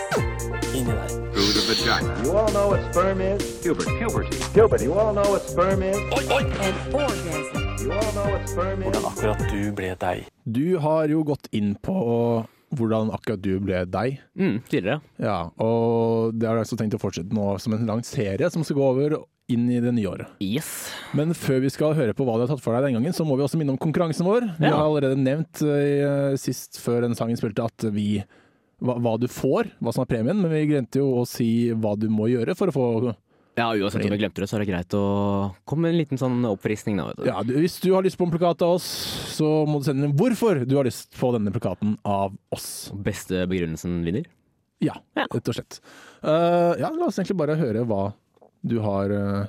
Speaker 6: You all know what sperm is? Puberty. Puberty. Puberty. You all know what sperm is?
Speaker 9: An orgasm.
Speaker 6: You all know what sperm is?
Speaker 2: Du har jo gått inn på hvordan akkurat du ble deg.
Speaker 3: Mm, tidligere.
Speaker 2: Ja, og det har jeg også tenkt å fortsette nå som en lang serie som skal gå over inn i det nye året.
Speaker 3: Yes.
Speaker 2: Men før vi skal høre på hva du har tatt for deg den gangen, så må vi også minne om konkurransen vår. Vi
Speaker 3: Ja.
Speaker 2: har allerede nevnt eh, sist før den sangen spilte at vi hva, hva du får, hva som er premien, men vi glemte jo å si hva du må gjøre for å få
Speaker 3: Ja, uansett om jeg glemte det, så er det greit å komme med en liten sånn oppfriskning, da. vet du.
Speaker 2: Ja, du, hvis du har lyst på en plakat av oss, så må du sende inn hvorfor du har lyst på denne plakaten av oss.
Speaker 3: Beste begrunnelsen vinner.
Speaker 2: Ja,
Speaker 3: Ja.
Speaker 2: rett og slett. Eh, ja, la oss egentlig bare høre hva du har eh,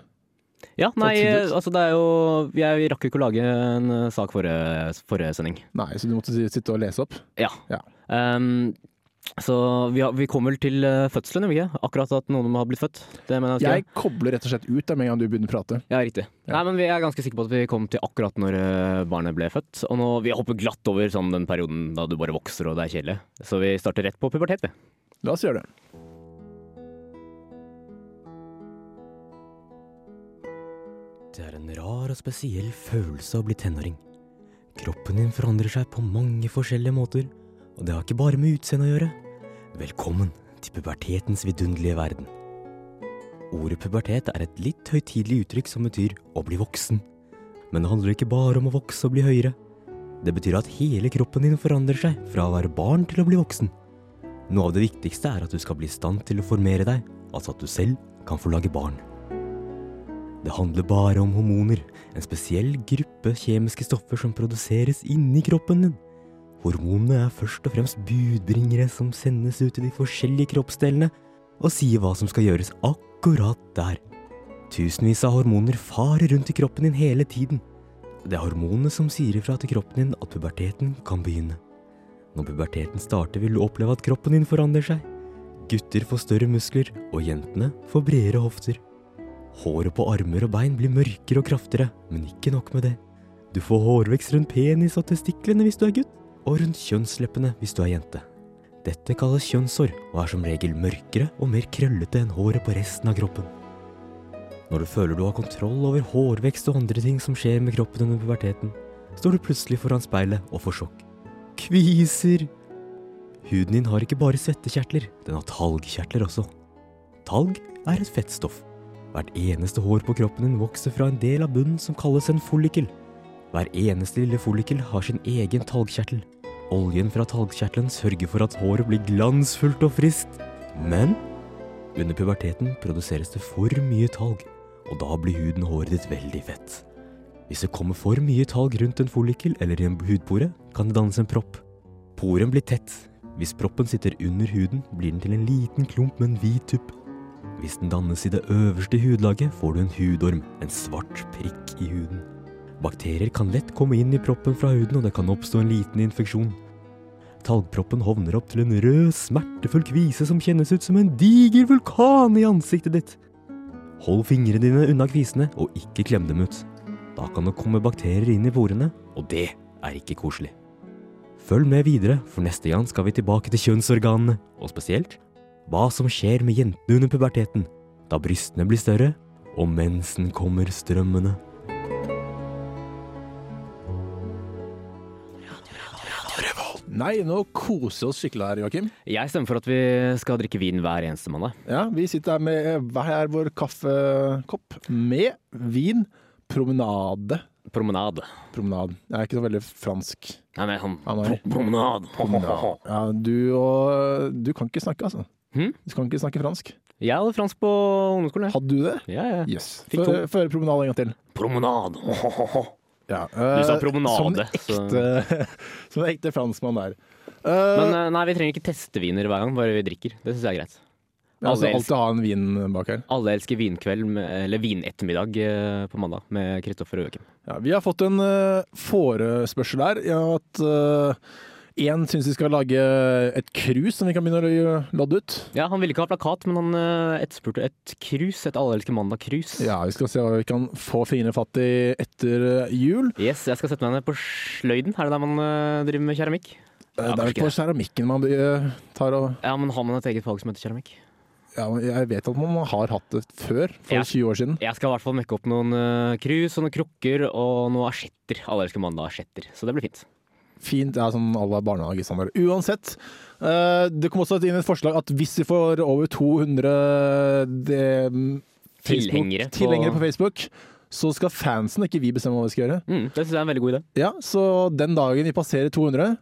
Speaker 3: Ja, nei,
Speaker 2: Absolutt.
Speaker 3: altså det er jo Jeg rakk jo ikke å lage en eh, sak forrige, forrige sending.
Speaker 2: Nei, så du måtte si- sitte og lese opp?
Speaker 3: Ja.
Speaker 2: Ja.
Speaker 3: Ehm, så vi, har, vi kom vel til eh, fødselen, gjør vi ikke? Akkurat at noen har blitt født. Det mener jeg.
Speaker 2: Jeg kobler rett og slett ut da, med en gang du begynner å prate.
Speaker 3: Ja, riktig. Nei, men Vi er ganske sikre på at vi kom til akkurat når eh, barnet ble født. Og nå, vi hopper glatt over sånn, den perioden da du bare vokser og det er kjedelig. Så vi starter rett på pubertet. vi.
Speaker 2: La oss gjøre det.
Speaker 3: Det er en rar og spesiell følelse å bli tenåring. Kroppen din forandrer seg på mange forskjellige måter, og det har ikke bare med utseendet å gjøre. Velkommen til pubertetens vidunderlige verden. Ordet pubertet er et litt høytidelig uttrykk som betyr å bli voksen. Men det handler ikke bare om å vokse og bli høyere. Det betyr at hele kroppen din forandrer seg fra å være barn til å bli voksen.
Speaker 10: Noe av det viktigste er at du skal bli i stand til å formere deg, altså at du selv kan få lage barn. Det handler bare om hormoner, en spesiell gruppe kjemiske stoffer som produseres inni kroppen din. Hormonene er først og fremst budbringere som sendes ut til de forskjellige kroppsdelene og sier hva som skal gjøres akkurat der. Tusenvis av hormoner farer rundt i kroppen din hele tiden. Det er hormonene som sier ifra til kroppen din at puberteten kan begynne. Når puberteten starter, vil du oppleve at kroppen din forandrer seg. Gutter får større muskler, og jentene får bredere hofter. Håret på armer og bein blir mørkere og kraftigere, men ikke nok med det. Du får hårvekst rundt penis og testiklene hvis du er gutt, og rundt kjønnsleppene hvis du er jente. Dette kalles kjønnshår, og er som regel mørkere og mer krøllete enn håret på resten av kroppen. Når du føler du har kontroll over hårvekst og andre ting som skjer med kroppen under puberteten, står du plutselig foran speilet og får sjokk. Kviser! Huden din har ikke bare svettekjertler, den har talgkjertler også. Talg er et fettstoff. Hvert eneste hår på kroppen din vokser fra en del av bunnen som kalles en follikel. Hver eneste lille follikel har sin egen talgkjertel. Oljen fra talgkjertelen sørger for at håret blir glansfullt og friskt. Men under puberteten produseres det for mye talg, og da blir huden og håret ditt veldig fett. Hvis det kommer for mye talg rundt en follikel eller i en hudpore, kan det dannes en propp. Poren blir tett. Hvis proppen sitter under huden, blir den til en liten klump med en hvit tupp. Hvis den dannes i det øverste hudlaget, får du en hudorm, en svart prikk i huden. Bakterier kan lett komme inn i proppen fra huden, og det kan oppstå en liten infeksjon. Talgproppen hovner opp til en rød, smertefull kvise som kjennes ut som en diger vulkan i ansiktet ditt. Hold fingrene dine unna kvisene, og ikke klem dem ut. Da kan det komme bakterier inn i porene, og det er ikke koselig. Følg med videre, for neste gang skal vi tilbake til kjønnsorganene, og spesielt hva som skjer med jentene under puberteten, da brystene blir større, og mensen kommer strømmende.
Speaker 2: Nei, nå koser vi oss skikkelig her, Joakim.
Speaker 3: Jeg stemmer for at vi skal drikke vin hver eneste mandag.
Speaker 2: Ja, vi sitter her med hver vår kaffekopp med vin. Promenade.
Speaker 3: Promenade.
Speaker 2: Promenade. Jeg er ikke så veldig fransk.
Speaker 3: Nei, men han
Speaker 2: Han er-
Speaker 3: Promenade.
Speaker 2: Ja, du, og, du kan ikke snakke, altså.
Speaker 3: Hm?
Speaker 2: Du kan ikke snakke fransk.
Speaker 3: Jeg hadde fransk på ungdomsskolen. jeg.
Speaker 2: Hadde du det?
Speaker 3: Ja, ja.
Speaker 2: Jøss.
Speaker 3: Fikk to.
Speaker 2: Få få høre promenade en gang til.
Speaker 3: Promenade.
Speaker 2: Ja,
Speaker 3: Du sa
Speaker 2: eh, Som en
Speaker 3: promenade. Så.
Speaker 2: ekte, som en ekte franskmann der.
Speaker 3: Men eh, nei, vi trenger ikke teste viner hver gang, bare vi drikker. Det syns jeg er greit.
Speaker 2: altså,
Speaker 3: alle
Speaker 2: alltid ha en vin bak her.
Speaker 3: Alle elsker vinkveld, med, eller vinettermiddag eh, på mandag med Kristoffer og Joakim.
Speaker 2: Ja, vi har fått en eh, forespørsel her. Ja, at én syns vi skal lage et krus som vi kan begynne å gjøre- lodde ut.
Speaker 3: Ja, han ville ikke ha plakat, men han eh, etterspurte et krus. Et allelske mandag-krus.
Speaker 2: Ja, Vi skal se hva vi kan få fingrene fatt i etter eh, jul.
Speaker 3: Yes, jeg skal sette meg ned på sløyden. Er det der man eh, driver med keramikk?
Speaker 2: Eh, det er
Speaker 3: Ja, kanskje
Speaker 2: vel på keramikken man eh, tar og
Speaker 3: Ja, men har man et eget fag som heter keramikk?
Speaker 2: ja, men Jeg vet at man har hatt det før, for
Speaker 3: Ja.
Speaker 2: 20 år siden.
Speaker 3: Jeg skal i hvert fall mekke opp noen eh, krus og noen krukker og noen asjetter. Allelske mandag-asjetter. Så det blir fint.
Speaker 2: Fint. Det er sånn alle barnehagestandard. Uansett. eh, Det kom også inn et forslag at hvis vi får over 200 det, Facebook-
Speaker 3: Tilhengere på-
Speaker 2: tilhengere på Facebook, så skal fansen, ikke vi, bestemme hva vi skal gjøre.
Speaker 3: Mm, det syns jeg er en veldig god idé.
Speaker 2: Ja, Så den dagen vi passerer 200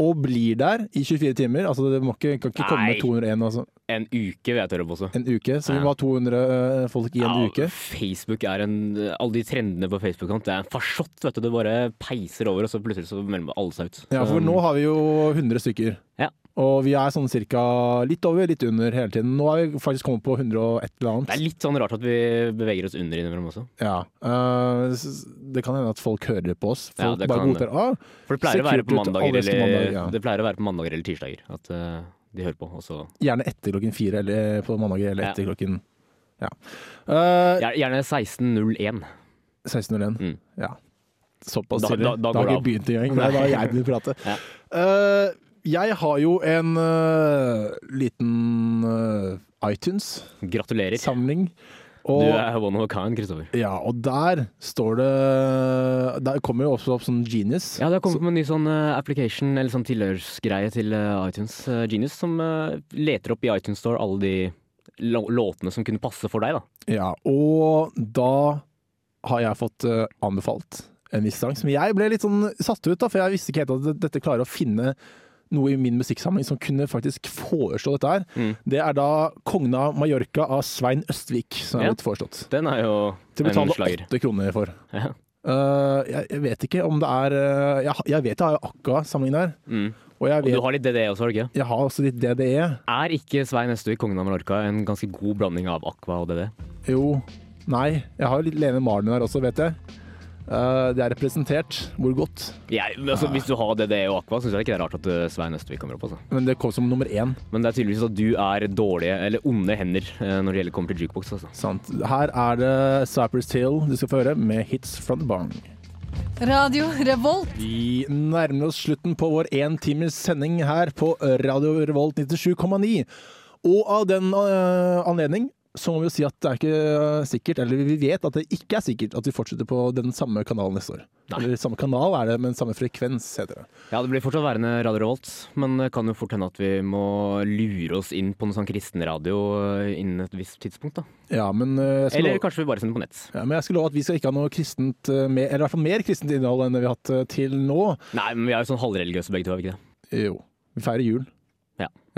Speaker 2: og blir der i 24 timer Altså det må ikke, kan ikke komme
Speaker 3: Nei.
Speaker 2: 201 altså,
Speaker 3: En uke vil jeg tørre på også.
Speaker 2: en uke, så vi
Speaker 3: Ja.
Speaker 2: må ha 200 folk i en
Speaker 3: Ja,
Speaker 2: uke.
Speaker 3: Facebook er en Alle de trendene på Facebook det er en farsott, vet du. Det bare peiser over, og så plutselig så melder alle seg ut.
Speaker 2: Ja, for
Speaker 3: Um,
Speaker 2: nå har vi jo 100 stykker.
Speaker 3: Ja.
Speaker 2: Og vi er sånn cirka litt over, litt under hele tiden. Nå har vi faktisk kommet på 101 eller annet.
Speaker 3: Det er litt sånn rart at vi beveger oss under innimellom også.
Speaker 2: Ja. eh, s- det kan hende at folk hører på oss.
Speaker 3: Ja,
Speaker 2: Folk
Speaker 3: det
Speaker 2: bare
Speaker 3: kan
Speaker 2: godtar ah,
Speaker 3: For det pleier, å være
Speaker 2: Sekk
Speaker 3: på
Speaker 2: ut
Speaker 3: mandager,
Speaker 2: alle
Speaker 3: eller,
Speaker 2: mandager, ja.
Speaker 3: det pleier å være på mandager eller tirsdager at eh, de hører på. Og så
Speaker 2: Gjerne etter klokken fire eller eh, på mandager eller
Speaker 3: Ja.
Speaker 2: etter klokken Ja. Eh,
Speaker 3: Gjer- Gjerne 16.01.
Speaker 2: 16.01.
Speaker 3: Mm.
Speaker 2: Ja. Såpass
Speaker 3: Da-
Speaker 2: tidlig.
Speaker 3: da- da går
Speaker 2: har
Speaker 3: det
Speaker 2: ikke
Speaker 3: av.
Speaker 2: begynt engang. Det er da jeg begynner å prate. Eh, jeg har jo en eh, liten eh, iTunes-samling.
Speaker 3: Gratulerer. Du
Speaker 2: Og,
Speaker 3: er one of a kind, Kristoffer.
Speaker 2: ja, og der står det Der kommer jo også opp sånn genius.
Speaker 3: Ja, det har kommet med en ny sånn eh, application, eller sånn tilhørsgreie til eh, iTunes eh, Genius, som eh, leter opp i iTunes Store alle de lå- låtene som kunne passe for deg, da.
Speaker 2: Ja, og da har jeg fått eh, anbefalt en viss sang som jeg ble litt sånn satt ut, da, for jeg visste ikke helt at dette klarer å finne noe i min musikksamling som kunne faktisk foreslå dette her.
Speaker 3: Mm.
Speaker 2: Det er da 'Kongen av Mallorca' av Svein Østvik, som er
Speaker 3: Ja.
Speaker 2: blitt foreslått.
Speaker 3: Den er jo
Speaker 2: Til å
Speaker 3: en
Speaker 2: betale
Speaker 3: slager.
Speaker 2: åtte kroner for.
Speaker 3: Ja.
Speaker 2: Eh, jeg, jeg vet ikke om det er eh, jeg, jeg vet jeg har jo Akka-samlingen der.
Speaker 3: Mm.
Speaker 2: Og jeg,
Speaker 3: Og du
Speaker 2: vet,
Speaker 3: har litt DDE også, har du ikke?
Speaker 2: jeg har også litt DDE.
Speaker 3: Er ikke Svein Østvik, kongen av Mallorca, en ganske god blanding av Aqua og DDE?
Speaker 2: Jo. Nei. Jeg har jo litt Lene Marlin her også, vet jeg. Eh, det er representert. Hvor godt?
Speaker 3: Jeg- men altså, hvis du har DDE og Aqua, syns jeg ikke det er rart at eh, Svein Østvik kommer opp. Altså.
Speaker 2: Men det kom som nummer én.
Speaker 3: Men det er tydeligvis at du er dårlige, eller onde hender eh, når det gjelder kommer til jukebox. Altså.
Speaker 2: Sant. Her er det Cypress Hill du skal få høre, med hits from the bong.
Speaker 11: Radio Revolt.
Speaker 2: Vi nærmer oss slutten på vår én times sending her på Radio Revolt 97,9. Og av den eh, anledning så må vi jo si at det er ikke eh, sikkert, eller vi vet at det ikke er sikkert, at vi fortsetter på den samme kanalen neste år.
Speaker 3: Nei.
Speaker 2: Eller samme kanal er det, men samme frekvens, heter det.
Speaker 3: Ja, det blir fortsatt værende Radio Revolt, men det kan jo fort hende at vi må lure oss inn på noe sånn kristenradio eh, innen et visst tidspunkt. da.
Speaker 2: Ja, men eh, jeg skal
Speaker 3: Eller
Speaker 2: love-
Speaker 3: kanskje vi bare sender på nett.
Speaker 2: Ja, men jeg skal love at vi skal ikke ha noe kristent, eh, mer, eller i hvert fall mer kristent innhold enn det vi har hatt eh, til nå.
Speaker 3: Nei, men vi er jo sånn halvreligiøse begge to, er vi ikke det?
Speaker 2: Jo, vi feirer jul.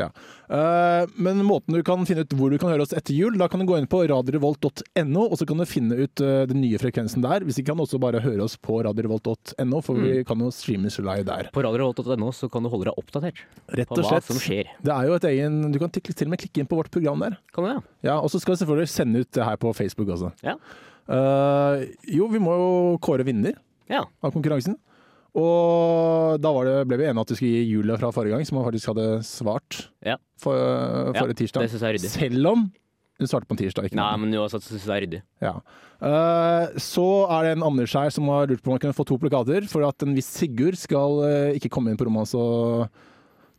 Speaker 3: Ja.
Speaker 2: Eh, men måten du kan finne ut hvor du kan høre oss etter jul, da kan du gå inn på radiorevolt.no, og så kan du finne ut eh, den nye frekvensen der. Hvis ikke kan du også bare høre oss på radiorevolt.no, for vi kan jo streames live der.
Speaker 3: På radiorevolt.no så kan du holde deg oppdatert
Speaker 2: Rett
Speaker 3: på
Speaker 2: og
Speaker 3: hva
Speaker 2: slett.
Speaker 3: som skjer.
Speaker 2: Det er jo et egen, du kan til til og med klikke inn på vårt program der.
Speaker 3: Kan du det?
Speaker 2: Ja, og så skal vi selvfølgelig sende ut det her på Facebook også.
Speaker 3: Ja.
Speaker 2: Eh, jo, vi må jo kåre vinner
Speaker 3: Ja.
Speaker 2: av konkurransen. Og da var det, ble vi enige om at vi skulle gi Julia fra forrige gang, som han faktisk hadde svart
Speaker 3: Ja.
Speaker 2: for, forrige tirsdag.
Speaker 3: det synes jeg er ryddig.
Speaker 2: Selv om hun svarte på en tirsdag. ikke
Speaker 3: Nei,
Speaker 2: noe.
Speaker 3: men uansett så syns jeg det er ryddig.
Speaker 2: Ja. Eh, så er det en Anders her som har lurt på om han kunne få to plakater, for at en viss Sigurd skal eh, ikke komme inn på rommet hans og-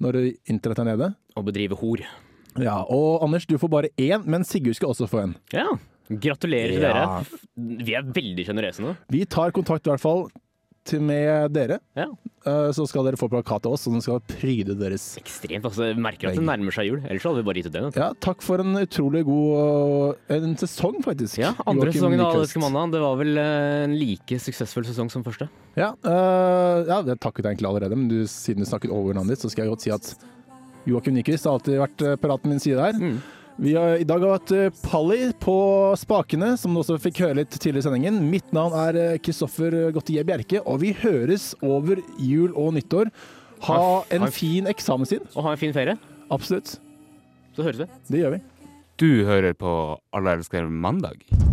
Speaker 2: når internett er nede.
Speaker 3: Å bedrive hor.
Speaker 2: Ja, Og Anders, du får bare én, men Sigurd skal også få en.
Speaker 3: Ja. Gratulerer til
Speaker 2: Ja.
Speaker 3: dere. Vi er veldig sjenerøse nå.
Speaker 2: Vi tar kontakt i hvert fall til med dere,
Speaker 3: Ja.
Speaker 2: eh, så skal dere få plakat av oss, og den skal pryde deres
Speaker 3: Ekstremt. altså. Jeg Merker at det nærmer seg jul. Ellers hadde vi bare gitt ut den. vet du.
Speaker 2: Ja, takk for en utrolig god øh, en sesong, faktisk.
Speaker 3: Ja, Andre
Speaker 2: Joakim
Speaker 3: sesongen av
Speaker 2: Nyquist.
Speaker 3: Allelske mandag. Det var vel eh, en like suksessfull sesong som første.
Speaker 2: Ja, øh, ja, det takket jeg egentlig allerede, men du, siden du snakket over navnet ditt, så skal jeg godt si at Joakim Nyquist har alltid vært øh, parat på min side her.
Speaker 3: Mm.
Speaker 2: Vi har, I dag har vi hatt øh, Palli på spakene, som du også fikk høre litt tidligere i sendingen. Mitt navn er øh, Kristoffer Gottier Bjerke, og vi høres over jul og nyttår. Ha
Speaker 3: Ha- ha-
Speaker 2: en fin eksamenstid.
Speaker 3: Og ha en fin ferie.
Speaker 2: Absolutt.
Speaker 3: Så høres vi.
Speaker 2: Det gjør vi.
Speaker 4: Du hører på Alle elsker mandag.